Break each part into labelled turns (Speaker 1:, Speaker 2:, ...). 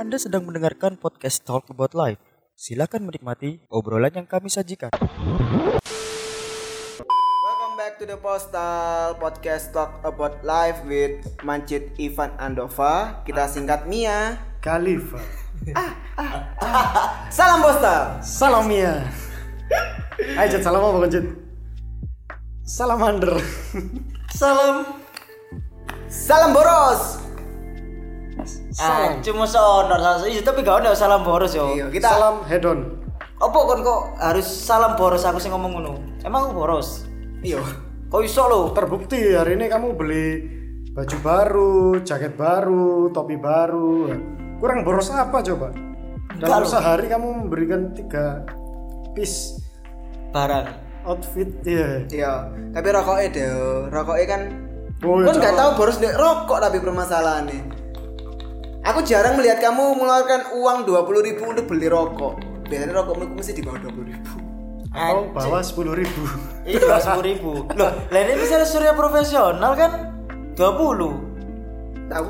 Speaker 1: Anda sedang mendengarkan podcast Talk About Life. Silakan menikmati obrolan yang kami sajikan.
Speaker 2: Welcome back to the Postal Podcast Talk About Life with Mancit Ivan Andova. Kita singkat Mia.
Speaker 3: Khalifa.
Speaker 2: Salam Postal.
Speaker 3: Salam Mia. Hai Cet, salam apa Cet? Salamander.
Speaker 4: Salam.
Speaker 2: Salam boros.
Speaker 4: Ah, cuma seonor salah satu. Iya, tapi gak ono salam boros yo.
Speaker 2: Iya,
Speaker 3: Kita
Speaker 2: kita
Speaker 3: salam hedon.
Speaker 4: Apa kon kok harus salam boros aku sing ngomong ngono? Emang aku boros?
Speaker 2: Iya.
Speaker 4: Kok iso lo?
Speaker 3: Terbukti hari ini kamu beli baju baru, jaket baru, topi baru. Kurang boros apa coba? Dalam sehari kamu memberikan tiga piece
Speaker 4: Barang.
Speaker 3: outfit ya.
Speaker 2: Iya, tapi rokoknya deh. Rokoknya kan
Speaker 3: Oh,
Speaker 2: Kan nggak
Speaker 3: coba.
Speaker 2: tahu boros nih rokok tapi permasalahannya. Aku jarang melihat kamu mengeluarkan uang 20.000 ribu untuk beli rokok. Biasanya rokokmu mesti di bawah 20.000 ribu.
Speaker 3: Atau bawa sepuluh ribu.
Speaker 4: Itu sepuluh ribu. Loh, lah ini misalnya surya profesional kan 20
Speaker 2: Tahu?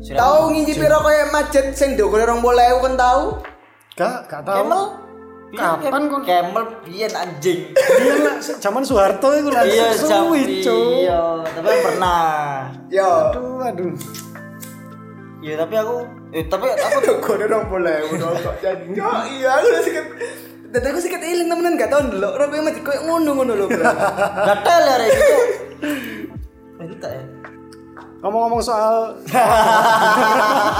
Speaker 4: Surya
Speaker 2: Tahu ngincipi rokok yang macet sing ndukure 20.000 kan tahu?
Speaker 3: Gak, gak tahu.
Speaker 4: Camel.
Speaker 3: Kapan kon?
Speaker 4: Camel biyen Iya, anjing.
Speaker 3: Iya lah, zaman Soeharto itu lah.
Speaker 4: Iya, jam.
Speaker 3: Kan Suwi, Cuk.
Speaker 4: Iya, tapi aku pernah.
Speaker 2: Yo.
Speaker 3: Aduh, aduh.
Speaker 4: Iya, tapi aku eh tapi aku
Speaker 2: Kau udah mulai Eh, udah kok
Speaker 4: Hmm.
Speaker 2: jadi. Oh iya, aku udah sikat. Dan aku sikat ilang temenan gak tau dulu. Rob yang masih kayak ngono ngono loh. bro.
Speaker 4: gatel ya Rek itu. Entek. ya.
Speaker 3: Ngomong-ngomong soal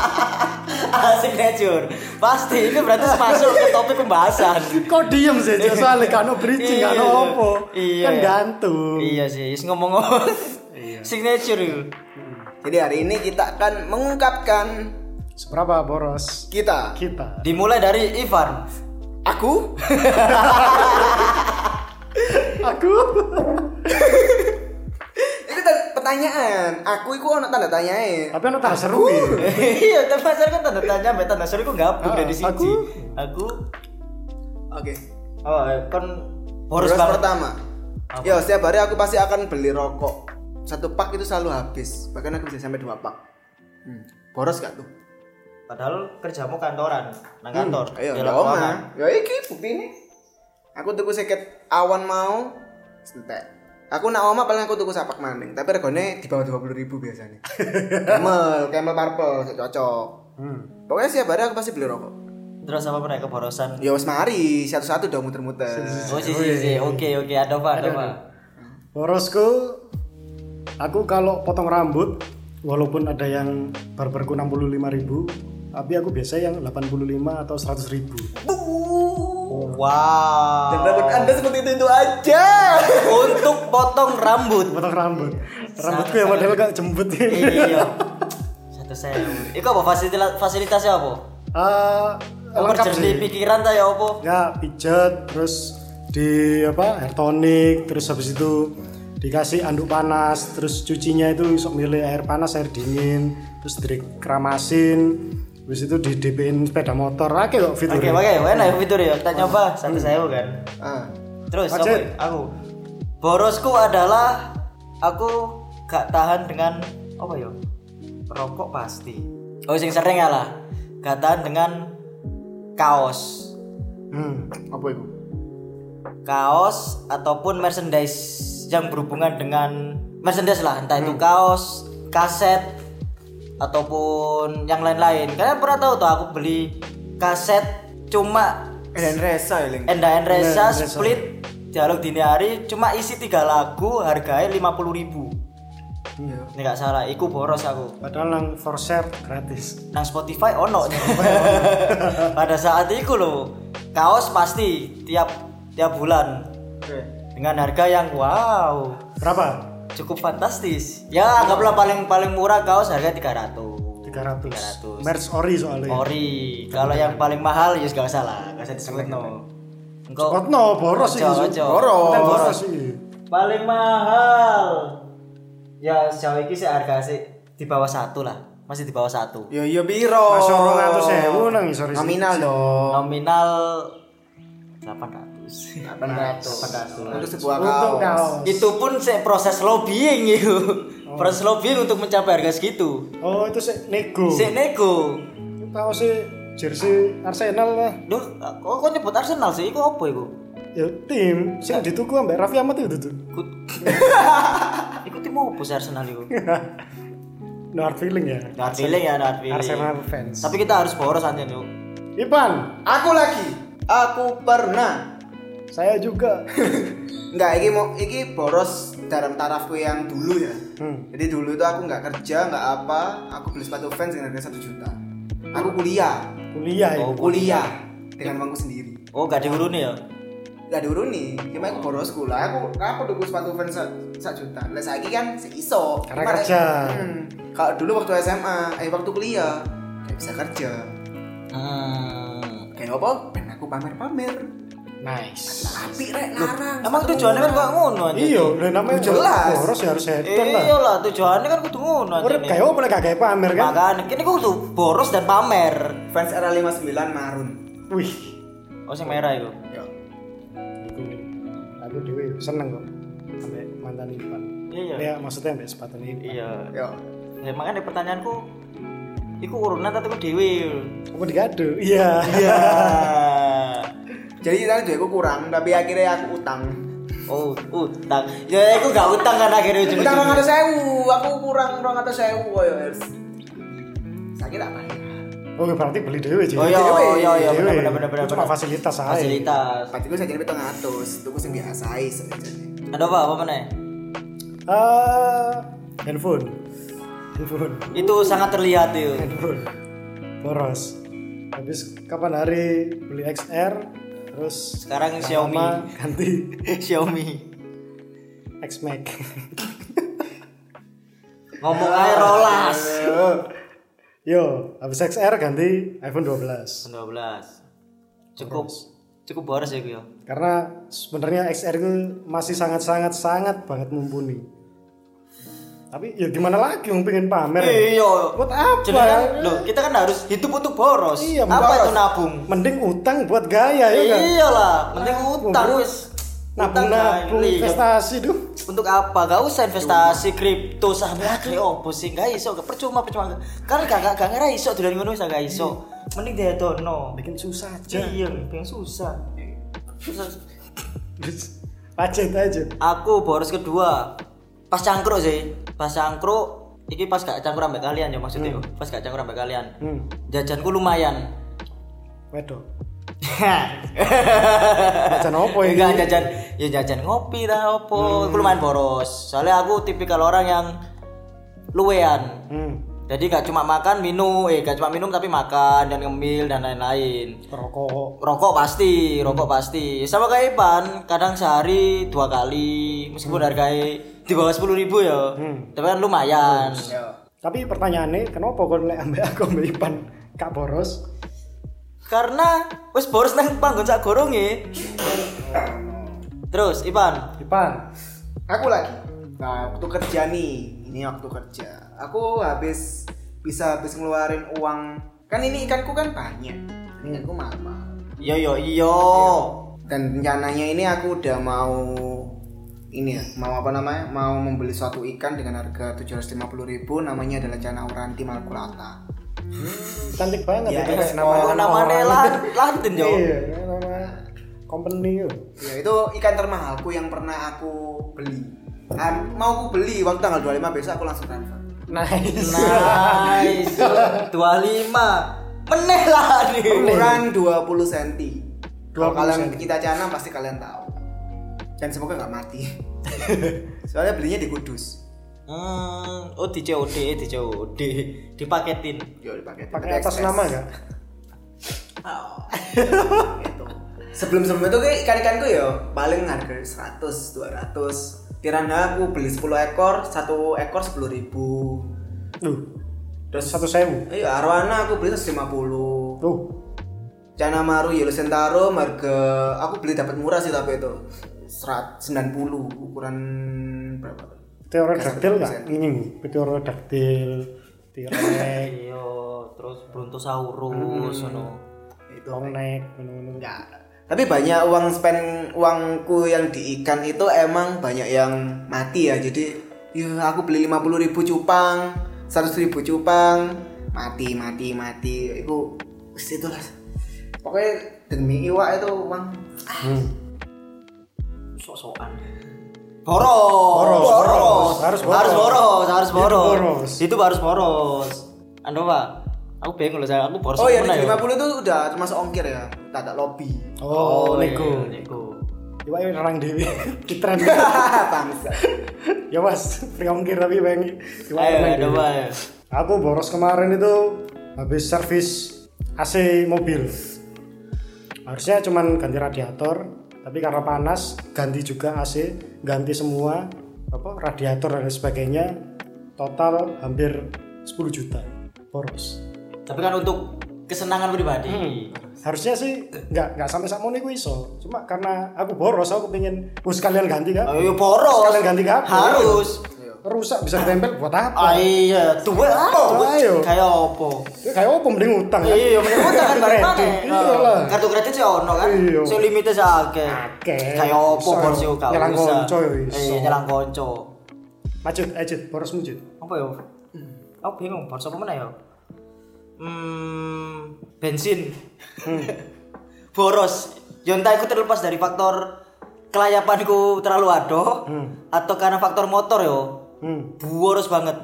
Speaker 4: Asik deh Ah, Jur Pasti ini berarti masuk ke topik pembahasan
Speaker 3: Kok diem sih, Cok? soalnya kan no bridging, kan no
Speaker 4: Iya.
Speaker 3: apa
Speaker 4: Iya.
Speaker 3: Kan gantung
Speaker 4: Iya sih, is ngomong-ngomong
Speaker 3: Iya.
Speaker 4: Signature itu
Speaker 2: Jadi hari ini kita akan mengungkapkan
Speaker 3: Seberapa boros
Speaker 2: kita.
Speaker 3: kita?
Speaker 4: Dimulai dari Ivan
Speaker 2: Aku
Speaker 3: Aku
Speaker 2: itu tan- pertanyaan. Aku itu anak tanda tanyain.
Speaker 3: Tapi anak tak seru ya
Speaker 4: Iya, tapi pasar kan tanda tanya Mbak tanda seru kok gabung
Speaker 3: Ah,
Speaker 4: dari sini
Speaker 3: aku-
Speaker 4: Aku
Speaker 2: Oke.
Speaker 4: Oh, kan boros
Speaker 2: Boros
Speaker 4: banget
Speaker 2: pertama. Yo, setiap hari aku pasti akan beli rokok. Satu pak itu selalu habis. Bahkan aku bisa sampai dua pak. Hmm. Boros gak tuh?
Speaker 4: Padahal kerjamu kantoran Nang kantor
Speaker 3: Hmm, iya,
Speaker 2: Ayo,
Speaker 4: Ya,
Speaker 2: ya
Speaker 4: lah,
Speaker 2: oma.
Speaker 4: Mama.
Speaker 2: Ya iki buktine. Aku tuku seket awan mau entek. Aku nak oma paling aku tuku sapak maning, tapi regane di bawah 20 ribu biasanya. Camel, camel purple, sik cocok. Pokoknya setiap hari aku pasti beli rokok.
Speaker 4: Terus apa pernah keborosan
Speaker 2: Ya wis mari, satu-satu udah muter-muter.
Speaker 4: Oh, si, si,
Speaker 3: iya.
Speaker 4: si. Oke, oke, ada apa, ada apa
Speaker 3: Borosku Aku kalau potong rambut Walaupun ada yang barberku 65 ribu Tapi aku biasa yang 85 atau 100 ribu
Speaker 4: Wow
Speaker 2: Dan rambut Anda seperti itu itu aja.
Speaker 4: Untuk potong rambut
Speaker 3: Potong rambut Rambutku ya padahal gak jembut
Speaker 4: iya satu sewu iku apa fasilitas fasilitasnya apa
Speaker 3: Ah, Lengkap
Speaker 4: kerja
Speaker 3: sih
Speaker 4: di pikiran ta ya apa
Speaker 3: ya pijet terus di apa air tonic terus habis itu dikasih anduk panas terus cucinya itu sok milih air panas air dingin terus dikeramasin habis itu di DP-in sepeda motor akeh kok
Speaker 4: oke
Speaker 3: fiturnya
Speaker 4: oke enak ya fitur ya tak nyoba satu sewu kan
Speaker 2: Ah.
Speaker 4: terus
Speaker 3: Lanjut.
Speaker 4: apa ya? aku borosku adalah aku gak tahan dengan apa ya rokok pasti oh sing sering ya lah gak tahan dengan kaos
Speaker 3: hmm.
Speaker 2: Apa itu?
Speaker 4: kaos ataupun merchandise yang berhubungan dengan merchandise lah entah itu kaos kaset ataupun yang lain-lain kalian pernah tahu tuh aku beli kaset cuma
Speaker 2: Dan resa ya, Ling.
Speaker 4: Enda Reza split dialog dini hari cuma isi tiga lagu harganya lima puluh ribu ini nggak salah iku boros aku
Speaker 3: Iya. padahal yang for share gratis
Speaker 4: nang Spotify ono pada saat itu loh kaos pasti tiap tiap bulan
Speaker 2: Oke.
Speaker 4: dengan harga yang wow
Speaker 3: berapa
Speaker 4: cukup fantastis ya anggaplah paling paling murah kaos harga 300
Speaker 3: 300,
Speaker 4: 300.
Speaker 3: merch ori soalnya
Speaker 4: ori kalau yang paling mahal ya gak usah lah gak usah disebut no engkau
Speaker 3: Kotno boros sih
Speaker 4: Ojo, ojo.
Speaker 3: boros boros sih
Speaker 4: paling mahal ya sejauh ini sih harga sih di bawah satu lah masih di bawah satu
Speaker 2: Yo yo biro.
Speaker 3: Masuk 200.000 nang isor
Speaker 2: Ya,
Speaker 3: isi.
Speaker 2: Nominal dong.
Speaker 4: nominal 800
Speaker 2: Untuk
Speaker 4: 800
Speaker 2: sebuah
Speaker 3: untuk
Speaker 2: kaos.
Speaker 3: kaos
Speaker 4: itu pun saya proses lobbying itu proses lobbying untuk mencapai harga segitu
Speaker 3: oh itu sih nego
Speaker 4: Sik nego.
Speaker 3: kaosnya jersey Arsenal lah.
Speaker 4: Duh, kok kok nyebut Arsenal sih? Iku apa iku?
Speaker 3: Ya tim sing dituku ambek Raffi Ahmad itu tuh.
Speaker 4: Iku Iku tim apa sih Arsenal iku?
Speaker 3: No hard feeling ya.
Speaker 4: Not feeling ya, not feeling.
Speaker 3: Arsenal fans.
Speaker 4: Tapi kita harus boros aja nih.
Speaker 3: Ipan,
Speaker 2: Aku lagi. Aku pernah.
Speaker 3: saya juga.
Speaker 2: Enggak, iki mau iki boros dalam tarafku yang dulu ya.
Speaker 3: Hmm,
Speaker 2: Jadi dulu itu aku nggak kerja, nggak apa, aku beli sepatu fans dengan harga 1 juta. Aku kuliah,
Speaker 3: Kuliah ya.
Speaker 4: Oh,
Speaker 2: kuliah dengan uangku sendiri.
Speaker 4: Oh, gak diuruni ya?
Speaker 2: Gak diuruni, cuma ya, aku borosku lah. Aku aku tuku sepatu fans sak sak juta. Lah saiki kan seiso.
Speaker 3: Karena
Speaker 2: Cuma-
Speaker 3: kerja.
Speaker 2: Hmm. Kalau dulu waktu SMA, eh waktu kuliah, gak bisa kerja.
Speaker 3: Ah.
Speaker 4: Hmm.
Speaker 2: Kayak apa? Ben aku pamer-pamer.
Speaker 3: Nice.
Speaker 2: Tapi rek larang.
Speaker 4: Emang tujuannya kan kok ngono aja.
Speaker 3: Iya, lah namanya
Speaker 2: Jelas.
Speaker 3: Boros ya harus hedon lah.
Speaker 4: Iya lah, tujuannya kan kudu ngono aja.
Speaker 3: Urip kayak apa lah gak kayak pamer kan?
Speaker 4: Makanya kini kudu boros dan pamer.
Speaker 2: fans era 59 marun.
Speaker 3: Wih,
Speaker 4: Oh, sing merah iku.
Speaker 2: Yo.
Speaker 3: aku aku dewe seneng kok ambek mantan Ipan.
Speaker 4: Iya.
Speaker 3: Ya maksudnya ambek sepatu ini.
Speaker 4: Iya.
Speaker 2: Yo.
Speaker 4: Ya, makanya pertanyaanku iku urunan tapi ku dhewe.
Speaker 3: Kamu digadu? Iya.
Speaker 4: Iya.
Speaker 2: Jadi ceritanya duitku kurang, tapi akhirnya aku utang.
Speaker 4: Oh, utang. Ya aku gak utang kan akhirnya
Speaker 2: Utang orang
Speaker 4: ujung-ujungnya.
Speaker 2: atas sewu, aku kurang orang atas sewu koyo oh, wes. Sakit apa ya?
Speaker 3: Oh berarti beli dewe sih.
Speaker 4: Oh iya, oh iya, iya,
Speaker 3: Dewe.
Speaker 4: benar benar benar benar.
Speaker 3: Itu Cuma
Speaker 4: benar.
Speaker 3: fasilitas aja.
Speaker 4: Fasilitas.
Speaker 2: Pasti gue sakit itu ngatus, tuku sing biasa ae sebenarnya.
Speaker 4: Ada apa apa meneh?
Speaker 3: Ah, handphone. Handphone.
Speaker 4: Itu sangat terlihat itu.
Speaker 3: Handphone. Boros. Habis kapan hari beli XR terus
Speaker 4: Sekarang
Speaker 3: nggak
Speaker 4: Xiaomi.
Speaker 3: lama ganti
Speaker 4: Xiaomi.
Speaker 3: X Max.
Speaker 4: Ngomong air rolas.
Speaker 3: Yo, habis XR ganti iPhone 12.
Speaker 4: 12. Cukup cukup boros ya gue. ya.
Speaker 3: Karena sebenarnya XR itu masih sangat-sangat sangat banget mumpuni. Tapi ya gimana lagi yang pengen pamer?
Speaker 4: Iya.
Speaker 3: Buat apa?
Speaker 4: Jadi kan, loh, kita kan harus hidup untuk boros.
Speaker 3: Iya,
Speaker 4: apa
Speaker 3: boros.
Speaker 4: itu nabung?
Speaker 3: Mending utang buat gaya ya kan?
Speaker 4: Iya lah, penting utang wis. Utang,
Speaker 3: Nabung-nabung
Speaker 4: Iya.
Speaker 3: investasi duh.
Speaker 4: Untuk apa? Gak usah investasi kripto saham ya kayak opo sih gak iso gak percuma percuma kan gak gak gak ngira iso dolan ngono iso gak
Speaker 3: Iya.
Speaker 4: iso mending dia dono
Speaker 3: Bikin susah aja.
Speaker 4: iya pengen susah Susah-
Speaker 3: Terus pacet aja.
Speaker 4: aku boros kedua pas cangkruk sih pas cangkruk iki pas gak cangkruk ambek kalian ya maksudnya yo. pas gak cangkruk ambek kalian
Speaker 3: Hmm,
Speaker 4: jajanku lumayan Ya.
Speaker 3: wedo. Pacan opo ini?
Speaker 4: enggak jajan ya jajan ngopi lah opo aku lumayan boros soalnya aku tipikal orang yang luwean
Speaker 3: Hmm,
Speaker 4: jadi gak cuma makan minum eh gak cuma minum tapi makan dan ngemil dan lain-lain
Speaker 3: rokok.
Speaker 4: rokok pasti rokok pasti sama kayak Ipan kadang sehari dua kali meskipun harganya di bawah sepuluh ribu ya tapi kan lumayan
Speaker 2: Yo.
Speaker 3: Tapi pertanyaannya, kenapa kau nilai ambek aku ambek Ipan kak boros?
Speaker 4: karena wis boros nang panggon sak goronge terus Ipan
Speaker 3: Ipan,
Speaker 2: Aku lagi. Nah, waktu kerja nih. Ini waktu kerja. Aku habis bisa habis ngeluarin uang. Kan ini ikanku kan banyak. Ikanku mahal.
Speaker 4: yo yo yo
Speaker 2: dan rencananya ini aku udah mau ini ya mau apa namanya mau membeli suatu ikan dengan harga 750.000 namanya adalah cana uranti malculata
Speaker 3: cantik banget
Speaker 2: Ya, ya,
Speaker 3: itu kayak nama
Speaker 4: oh namanya lan lantin yo
Speaker 3: Iya, kayak nama company yo.
Speaker 2: ya itu ikan termahalku yang pernah aku beli Ah, mau aku beli waktu tanggal 25 besok aku langsung transfer
Speaker 3: Nice.
Speaker 4: nice 25 meneh lah nih
Speaker 2: ukuran 20 cm kalau
Speaker 3: 20
Speaker 2: kalian
Speaker 3: senti.
Speaker 2: kita cana pasti kalian tahu dan semoga nggak mati soalnya belinya di kudus
Speaker 4: Hmm, oh di COD, di COD, dipaketin.
Speaker 2: Yo, dipakai
Speaker 3: Pakai atas
Speaker 2: Express.
Speaker 3: nama kan? enggak?
Speaker 2: gitu. Sebelum sebelum itu kayak ikan-ikanku ya paling harga 100 200. Piranha aku beli 10 ekor, satu ekor 10.000 ribu.
Speaker 3: Duh,
Speaker 2: Terus
Speaker 3: satu sewu.
Speaker 2: Ayo arwana aku beli 150.
Speaker 3: Tuh,
Speaker 2: Cana maru yellow sentaro harga ya, aku beli dapat murah sih tapi itu 190 ukuran berapa?
Speaker 3: pterodactyl enggak? Ini pterodactyl, T-rex,
Speaker 4: Iya, terus
Speaker 3: Hmm.
Speaker 4: Brontosaurus ngono.
Speaker 2: Itu
Speaker 3: long neck, ngono-ngono.
Speaker 2: enggak. Tapi banyak uang spend uangku yang di ikan itu emang banyak yang mati ya. Jadi ya aku beli 50.000 cupang, 100.000 cupang, mati mati mati itu wis itu lah pokoknya demi iwak itu uang
Speaker 3: Hmm.
Speaker 4: sok-sokan boros
Speaker 3: Boros, boros. Harus
Speaker 4: harus
Speaker 3: boros.
Speaker 4: boros harus boros harus
Speaker 3: Itu
Speaker 4: boros,
Speaker 3: boros.
Speaker 4: itu harus boros anu pak aku bingung loh saya aku boros
Speaker 2: oh ya
Speaker 3: iya,
Speaker 4: mana
Speaker 2: di 50 itu udah termasuk ongkir ya tak ada lobby
Speaker 3: Oh,
Speaker 4: iya,
Speaker 3: nego.
Speaker 4: nego
Speaker 3: Coba ini orang dewi. Kita
Speaker 2: bangsa
Speaker 3: ya mas, free ongkir tapi pengen. Coba
Speaker 4: ayo
Speaker 3: orang dewe.
Speaker 4: coba ayo.
Speaker 3: Aku boros kemarin itu habis servis AC mobil. Harusnya cuman ganti radiator, tapi karena panas ganti juga AC, ganti semua apa radiator dan lain sebagainya. Total hampir 10 juta boros.
Speaker 4: tapi kan untuk kesenangan pribadi
Speaker 3: Hmm. Harusnya sih nggak nggak sampai sakmono iku iso. Cuma karena aku boros, aku pengen "Oh, sekalian ganti kan.
Speaker 4: ayo boros
Speaker 3: Sekalian ganti kabel.
Speaker 4: Eh, ya harus
Speaker 3: Rusak bisa ditempel buat
Speaker 4: Ah,
Speaker 3: apa?
Speaker 4: iya, tuwe
Speaker 3: Tuwe,
Speaker 4: apa?
Speaker 3: ayo.
Speaker 4: Kayak apa?
Speaker 3: Ya kayak apa mending utang. kan?
Speaker 4: Iya, mending utang kan bareng
Speaker 3: Kredit.
Speaker 4: maneh.
Speaker 3: Iya lah.
Speaker 4: Kartu kredit sih ono kan.
Speaker 3: Iya.
Speaker 4: Sing limite sakake.
Speaker 3: Akeh.
Speaker 4: Kayak opo
Speaker 3: Iso.
Speaker 4: borsi kau.
Speaker 3: Nyelang konco ya, iso.
Speaker 4: Iya, nyelang konco.
Speaker 3: Macut, ajut, boros mujud.
Speaker 4: Apa ya? Aku bingung borsi apa mana ya? Hmm, bensin.
Speaker 3: Hmm.
Speaker 4: Boros. Ya entah aku terlepas dari faktor kelayapanku terlalu adoh atau karena faktor motor yo.
Speaker 3: Hmm.
Speaker 4: Boros banget.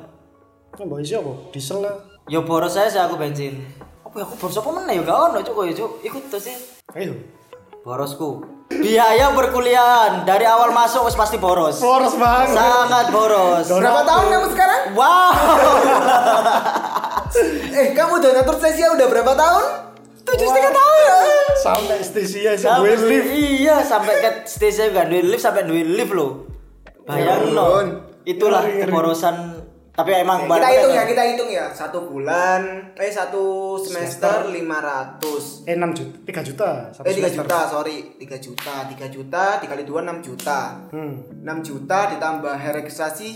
Speaker 3: Ini mbak isi apa? Diesel lah.
Speaker 4: Yo boros saya sih aku bensin. Apa ya aku boros apa mana ya? Gak ono cuk ya cuk. Ikut terus sih.
Speaker 3: Ayo.
Speaker 4: Borosku. Biaya perkuliahan dari awal masuk wis pasti boros.
Speaker 3: Boros banget.
Speaker 4: Sangat boros.
Speaker 2: berapa tahun kamu sekarang
Speaker 4: Wow.
Speaker 2: eh kamu donatur sesi udah berapa tahun tujuh setengah tahun ya?
Speaker 3: Sampai stisia sih gue
Speaker 4: Sampai-
Speaker 3: lift.
Speaker 4: Iya, sampai ke stage saya gak duwe lift sampai duwe lift loh.
Speaker 2: Ya
Speaker 4: Bayang
Speaker 2: Ampun.
Speaker 4: Itulah keborosan tapi emang
Speaker 2: kita
Speaker 4: barang-
Speaker 2: hitung ya kita hitung ya satu bulan eh satu semester 500
Speaker 3: Eh 6 juta, 3 juta. Satu
Speaker 2: eh 3
Speaker 3: semester.
Speaker 2: juta sorry 3 juta 3 juta dikali 2 6 juta
Speaker 3: Hmm.
Speaker 2: 6 juta ditambah registrasi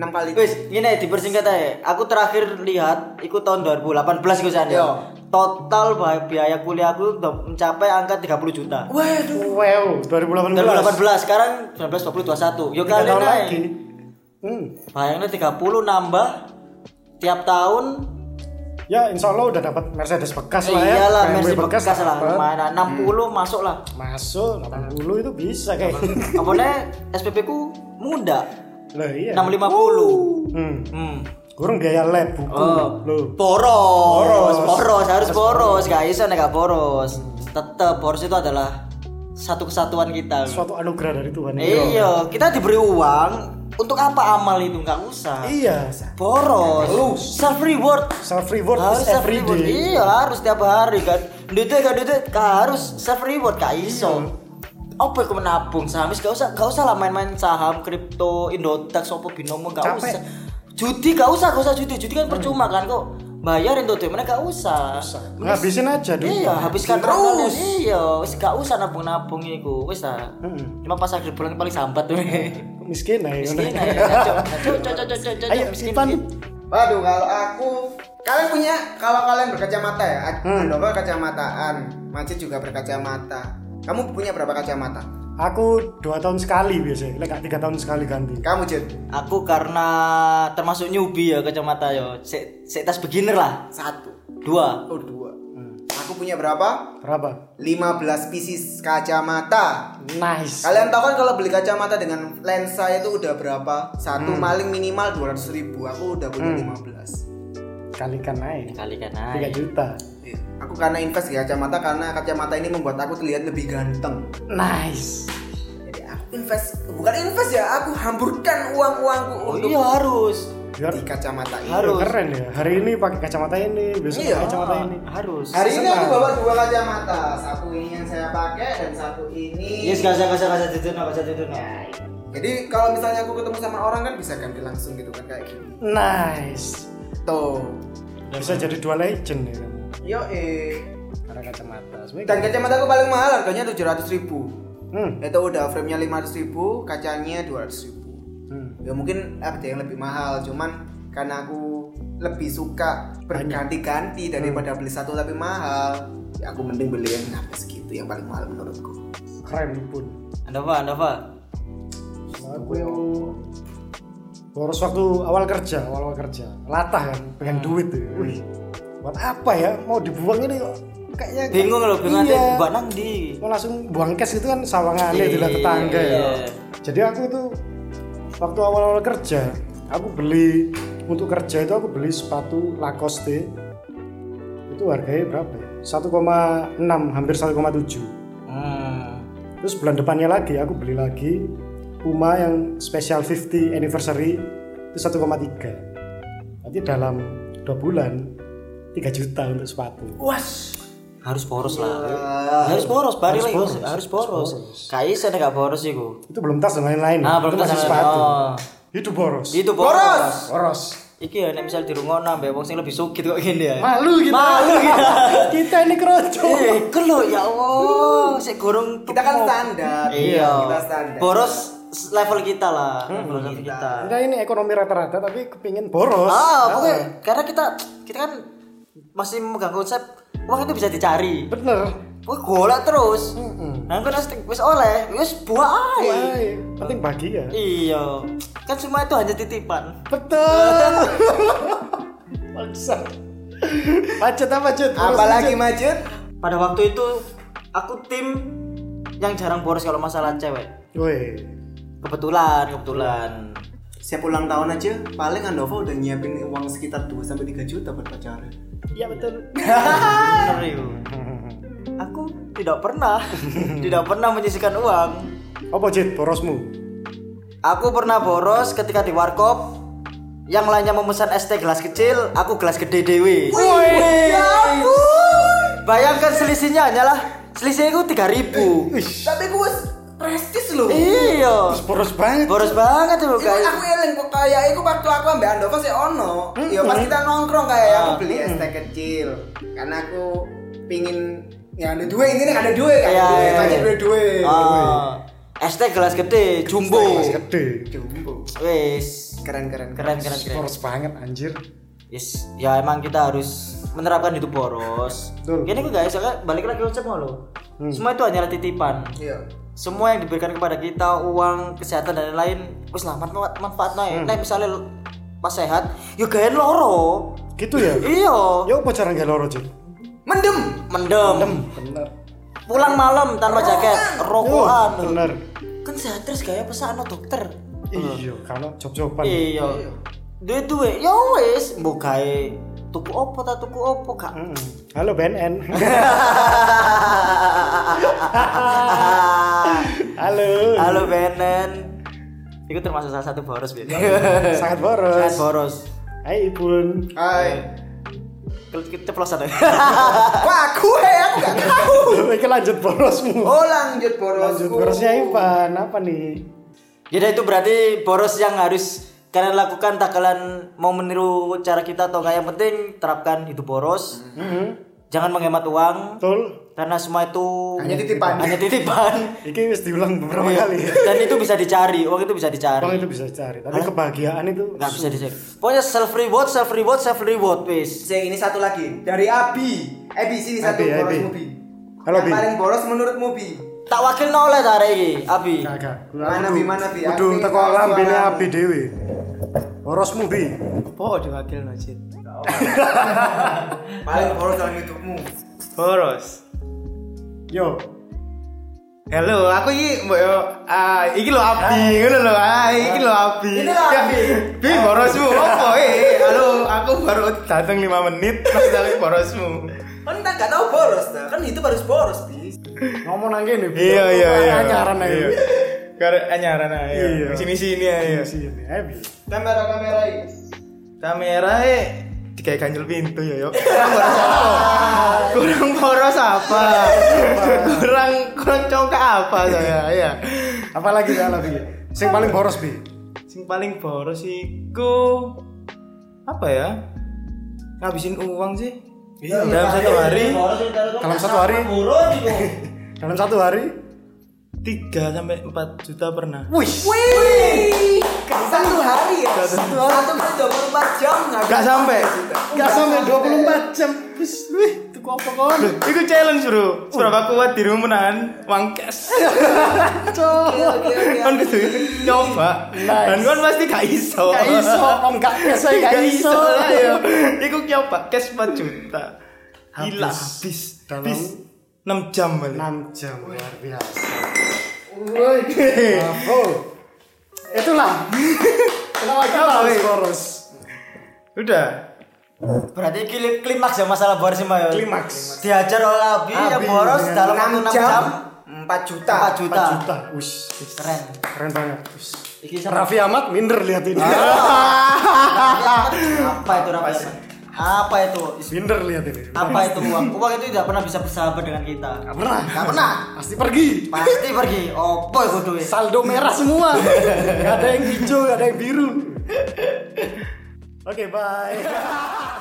Speaker 2: 6 kali
Speaker 4: Wis, ngene dipersingkat aja. Aku terakhir lihat iku tahun 2018 iku sana.
Speaker 2: Yo.
Speaker 4: Total bay- biaya kuliah aku udah mencapai angka 30 juta.
Speaker 2: waduh
Speaker 3: Wow, 2018.
Speaker 4: 2018 sekarang 19 20 21. Yo
Speaker 3: 3
Speaker 4: kalian
Speaker 3: tahun
Speaker 4: naik.
Speaker 3: lagi. Hmm.
Speaker 4: Bayangnya 30 nambah tiap tahun
Speaker 3: Ya insya Allah udah dapat Mercedes bekas lah ya.
Speaker 4: iyalah
Speaker 3: BMW
Speaker 4: Mercy bekas, lah
Speaker 3: dapat.
Speaker 4: lumayan 60 masuk lah
Speaker 3: Masuk 80 itu bisa kayak.
Speaker 4: apalagi SPP ku munda
Speaker 3: Lah iya.
Speaker 4: 650
Speaker 3: Hmm.
Speaker 4: hmm.
Speaker 3: Kurang biaya lab buku.
Speaker 4: Oh.
Speaker 3: Loh. Boros.
Speaker 4: boros boros harus boros gak bisa nek gak boros tetep boros itu adalah satu kesatuan kita
Speaker 3: Suatu anugerah dari Tuhan.
Speaker 4: iya kita diberi uang untuk apa amal itu nggak usah
Speaker 3: Iya.
Speaker 4: boros self reward
Speaker 3: Self reward
Speaker 4: harus
Speaker 3: is
Speaker 4: self
Speaker 3: every
Speaker 4: reward
Speaker 3: day.
Speaker 4: iya harus tiap hari kan duit kan duit harus self reward gak iso apa aku menabung saham wis gak usah gak usah lah main-main saham kripto indodax apa binomo gak
Speaker 3: Capek.
Speaker 4: usah judi gak usah gak usah judi judi kan percuma kan kok bayarin tuh mana gak usah
Speaker 3: Ngabisin aja dulu.
Speaker 4: iya habiskan
Speaker 2: Terus.
Speaker 4: terus iya wis gak usah nabung-nabung iku wis lah cuma pas akhir bulan paling sambat tuh
Speaker 3: miskin aja
Speaker 4: miskin
Speaker 3: udah.
Speaker 4: aja cocok cocok cocok
Speaker 3: ayo Ivan
Speaker 2: waduh kalau aku kalian punya kalau kalian berkacamata ya hmm. berkacamataan Majid juga berkacamata kamu punya berapa kacamata
Speaker 3: aku dua tahun sekali biasanya lek gak tiga tahun sekali ganti
Speaker 2: kamu Jid
Speaker 4: Aku karena termasuk newbie ya kacamata yo. Sek sek tas beginner lah.
Speaker 2: satu
Speaker 4: Dua.
Speaker 2: oh dua aku punya berapa
Speaker 3: berapa
Speaker 2: 15 pieces kacamata
Speaker 3: nice
Speaker 2: Kalian tahu kan kalau beli kacamata dengan lensa itu udah berapa? Satu
Speaker 4: Hmm.
Speaker 2: maling minimal 200 ribu. Aku udah punya 15.
Speaker 3: kalikan naik
Speaker 4: Kali kan
Speaker 3: tiga
Speaker 4: naik.
Speaker 3: juta
Speaker 2: Iya. Aku karena invest di kacamata karena kacamata ini membuat aku terlihat lebih ganteng.
Speaker 3: nice
Speaker 2: Jadi aku invest bukan invest ya, aku hamburkan uang-uangku
Speaker 4: Oh
Speaker 2: untuk
Speaker 4: iya harus.
Speaker 3: Biar-
Speaker 2: di kacamata ini.
Speaker 4: Harus.
Speaker 3: keren ya hari ini pakai kacamata ini besok
Speaker 2: Iya.
Speaker 3: pakai kacamata
Speaker 4: Ah,
Speaker 3: ini
Speaker 4: Harus.
Speaker 2: Hari ini aku
Speaker 4: Iya.
Speaker 3: Senang.
Speaker 2: bawa dua kacamata. Satu ini yang saya pakai dan satu ini.
Speaker 4: Yes, gak usah, gak usah, gak usah tidur, gak usah tidur.
Speaker 2: Jadi kalau misalnya aku ketemu sama orang kan bisa ganti langsung gitu kan kayak gini.
Speaker 3: nice
Speaker 2: Tuh.
Speaker 3: bisa jadi dua legend ya kamu
Speaker 2: Yo eh.
Speaker 3: karena kacamata
Speaker 2: Dan
Speaker 3: sebenarnya
Speaker 2: kacamata aku paling mahal harganya 700 ribu
Speaker 3: hmm.
Speaker 2: Itu udah framenya 500 ribu, kacanya 200 ribu
Speaker 3: hmm.
Speaker 2: Ya mungkin ada yang lebih mahal, cuman karena aku lebih suka berganti-ganti
Speaker 4: Hmm.
Speaker 2: daripada beli satu tapi mahal ya aku mending beli yang apa segitu yang paling mahal menurutku
Speaker 3: keren pun
Speaker 4: Anda apa, anda apa?
Speaker 3: aku boros waktu awal kerja awal, awal kerja latah kan pengen
Speaker 4: Hmm.
Speaker 3: duit tuh Wih, buat apa ya mau dibuang ini kok kayaknya
Speaker 4: bingung loh bingung
Speaker 3: Iya.
Speaker 4: nanti buat nang di
Speaker 3: mau langsung buang cash itu kan sawangan di
Speaker 4: Iya.
Speaker 3: tetangga ya jadi aku tuh waktu awal-awal kerja aku beli untuk kerja itu aku beli sepatu Lacoste itu harganya berapa ya? 1,6 hampir 1,7
Speaker 4: hmm.
Speaker 3: terus bulan depannya lagi aku beli lagi Puma yang special 50 anniversary itu 1,3 nanti dalam 2 bulan 3 juta untuk sepatu
Speaker 4: was harus boros lah harus boros bari Iya. harus boros, harus boros. kayak saya nggak boros sih gua
Speaker 3: itu belum tas dan lain-lain
Speaker 4: nah
Speaker 3: itu
Speaker 4: belum tak
Speaker 3: masih sepatu hidup boros
Speaker 4: itu boros.
Speaker 3: boros
Speaker 4: Iki ya, nek misal di rumah nambah wong sing lebih sugih kok gini ya.
Speaker 3: malu kita
Speaker 4: Malu gitu. kita.
Speaker 3: kita ini keroncong
Speaker 4: Eh, iku lho ya Allah, sik gorong
Speaker 2: Kita kan standar.
Speaker 4: Iya.
Speaker 2: Kita standar. Hmm,
Speaker 4: Boros level kita lah, level kita.
Speaker 3: kita ini ekonomi rata-rata tapi kepingin boros
Speaker 4: Ah, pokoknya karena kita kita kan masih memegang konsep uang itu bisa dicari.
Speaker 3: bener
Speaker 4: Pokoknya golak terus.
Speaker 2: Hmm.
Speaker 4: Nah, kan harus wis oleh, wis buah
Speaker 2: Iya.
Speaker 4: ae.
Speaker 3: Wah, penting bahagia
Speaker 4: Iya. Kan semua itu hanya titipan.
Speaker 3: betul paksa macet apa macet
Speaker 2: Apalagi macet?
Speaker 4: Pada waktu itu aku tim yang jarang boros kalau masalah cewek.
Speaker 3: woi
Speaker 4: Kebetulan, kebetulan.
Speaker 2: Siap ulang tahun aja, paling Andova udah nyiapin uang sekitar 2 sampai 3 juta buat pacaran.
Speaker 3: iya betul
Speaker 4: Serius. Aku tidak pernah, tidak pernah menyisihkan uang.
Speaker 3: apa Jit? borosmu
Speaker 4: Aku pernah boros ketika di warkop. Yang lainnya memesan es teh gelas kecil, aku gelas gede dewi.
Speaker 2: Ya
Speaker 4: Bayangkan selisihnya hanyalah selisihnya itu 3000.
Speaker 2: Tapi gue restis loh.
Speaker 4: Iya.
Speaker 3: boros banget
Speaker 4: Boros banget loh,
Speaker 2: Iku
Speaker 4: guys.
Speaker 2: aku eling kok kayak iku waktu aku ambek Andova sih ono. Ya pas kita nongkrong kayak aku beli es teh kecil. Karena aku pingin ya ada duit ini ada duit kan.
Speaker 4: Iya, iya,
Speaker 2: Banyak
Speaker 4: iya.
Speaker 2: duit duit.
Speaker 4: Ah, es teh gelas gede, jumbo.
Speaker 3: gede
Speaker 2: Jumbo.
Speaker 4: Wes.
Speaker 2: Keren keren keren.
Speaker 4: Keren keren keren.
Speaker 3: boros banget anjir
Speaker 4: Yes, ya emang kita harus menerapkan hidup boros.
Speaker 3: Betul.
Speaker 4: Gini kok guys, soalnya balik lagi konsep mau lo. Semua itu hanyalah titipan.
Speaker 2: Iya.
Speaker 4: Semua yang diberikan kepada kita, uang, kesehatan dan lain-lain, wis lah manfaat manfaat naik. Nah, misalnya lo- pas sehat, ya gaen loro.
Speaker 3: gitu ya
Speaker 4: Iya.
Speaker 3: ya apa cara nggak loro Jit?
Speaker 2: Mendem.
Speaker 4: Mendem.
Speaker 3: bener
Speaker 4: Pulang malam tanpa jaket, rokokan.
Speaker 3: Oh, bener
Speaker 4: Kan sehat terus gaya pesan no dokter.
Speaker 3: iya kalau job-joban
Speaker 4: Iya. Duit-duit, ya wis, mbok gawe tuku opo ta tuku opo gak
Speaker 3: Mm-mm. halo BNN halo
Speaker 4: Halo Benen. Itu termasuk salah satu boros, Ben.
Speaker 3: sangat boros
Speaker 4: Sangat boros.
Speaker 3: Hai Ibun
Speaker 2: Hai.
Speaker 4: Kel- ke- Ceplosan ya.
Speaker 2: Kok aku he aku gak tahu.
Speaker 3: Oke lanjut borosmu
Speaker 2: Oh lanjut borosku.
Speaker 3: Lanjut borosnya Ivan Apa nih?
Speaker 4: Jadi Ya, itu berarti boros yang harus kalian lakukan tak kalian mau meniru cara kita atau enggak yang penting terapkan hidup boros.
Speaker 2: Mm-hmm.
Speaker 4: Jangan menghemat uang
Speaker 3: Betul
Speaker 4: karena semua itu
Speaker 2: Hanya titipan.
Speaker 4: Hanya titipan.
Speaker 3: Iki wis diulang beberapa
Speaker 4: Iya.
Speaker 3: kali
Speaker 4: Dan itu bisa dicari, uang itu bisa
Speaker 3: Uang
Speaker 4: dicari.
Speaker 3: itu bisa dicari Tapi kebahagiaan itu
Speaker 4: Enggak bisa dicari. Pokoknya self reward, self reward, self reward, wis.
Speaker 2: Saya ini satu lagi dari Abi. Abi sini satu
Speaker 3: Abi,
Speaker 2: boros
Speaker 3: Abi.
Speaker 2: Mubi.
Speaker 3: Halo,
Speaker 2: Yang
Speaker 3: Bi.
Speaker 2: paling boros menurut Mubi.
Speaker 4: Tak wakil oleh ta arek iki, Abi.
Speaker 3: Kagak
Speaker 2: Mana, Bi, mana, Bi? Aku
Speaker 3: Kudu teko
Speaker 2: ini
Speaker 3: lambene
Speaker 2: suara.
Speaker 3: api dewe Borosmu Bi
Speaker 5: Apa diwakil Najid?
Speaker 2: Paling boros dalam hidupmu.
Speaker 5: Boros.
Speaker 3: Yo
Speaker 5: Halo, aku iki mbok yo ah iki lho Abi, ngono lho. Ah, iki lho Abi.
Speaker 2: Ini lho, Abi.
Speaker 5: Ya, Bi borosmu opo? Eh, halo, aku baru datang 5 menit terus tapi borosmu.
Speaker 2: Kan kita gak tahu boros dah. Kan hidup harus boros, Bi.
Speaker 3: Ngomong nang kene Bi.
Speaker 5: Iya, iya, iya.
Speaker 3: Anyaran ae.
Speaker 5: Iya. Karena anyaran ae.
Speaker 3: Iya.
Speaker 5: Sini-sini ya. ae.
Speaker 3: Iya sih ini Abi.
Speaker 2: Kamera kamera ini.
Speaker 5: Kamera e digawe ganjel pintu ya yo. Kurang boros apa? Kurang boros apa? Kurang kurang congkak apa saya? Ya.
Speaker 3: Apalagi salah Bi Sing paling boros Bi
Speaker 5: Sing paling boros iku apa ya? Ngabisin uang sih. Dalam satu hari
Speaker 3: Dalam satu hari Dalam satu hari
Speaker 5: 3 sampai 4 juta pernah.
Speaker 3: Wih
Speaker 2: Satu hari ya.
Speaker 5: Satu
Speaker 4: Satu kali 24 jam nggak
Speaker 5: Gak sampai.
Speaker 3: Gak sampai 24 jam. Wis, wih, tuku apa kon?
Speaker 5: Iku challenge bro. Seberapa kuat dirimu menahan uang cash?
Speaker 3: Oh,
Speaker 5: Kon kudu nyoba. Dan kon pasti gak iso.
Speaker 3: Gak iso, om gak iso, gak iso.
Speaker 5: lah, ya. Iku nyoba cash 4 juta. Gila
Speaker 3: Habis.
Speaker 5: habis.
Speaker 3: Dalam-
Speaker 5: Habis 6 jam balik.
Speaker 3: 6 jam luar biasa. Bravo. Itulah. Kenapa kita harus boros?
Speaker 5: Udah.
Speaker 4: Berarti kli- klimaks ya masalah boros sih Mbak.
Speaker 3: Klimaks.
Speaker 4: Diajar oleh Abi yang boros dalam waktu 6 jam
Speaker 2: 4 juta.
Speaker 4: 4 juta.
Speaker 3: 4 juta. Wis,
Speaker 4: Keren.
Speaker 3: keren banget. Ah. Wis.
Speaker 4: Iki sama
Speaker 3: Raffi Ahmad minder lihat ini.
Speaker 4: apa itu Rafa? Apa itu? Is-
Speaker 3: minder lihat ini.
Speaker 4: Apa itu uang? Uang itu tidak pernah bisa bersahabat dengan kita.
Speaker 3: Gak pernah.
Speaker 4: Gak pernah.
Speaker 3: Pasti pergi.
Speaker 4: Pasti pergi. Opo itu duit.
Speaker 3: Saldo merah semua. gak ada yang hijau, gak ada yang biru. Oke, bye.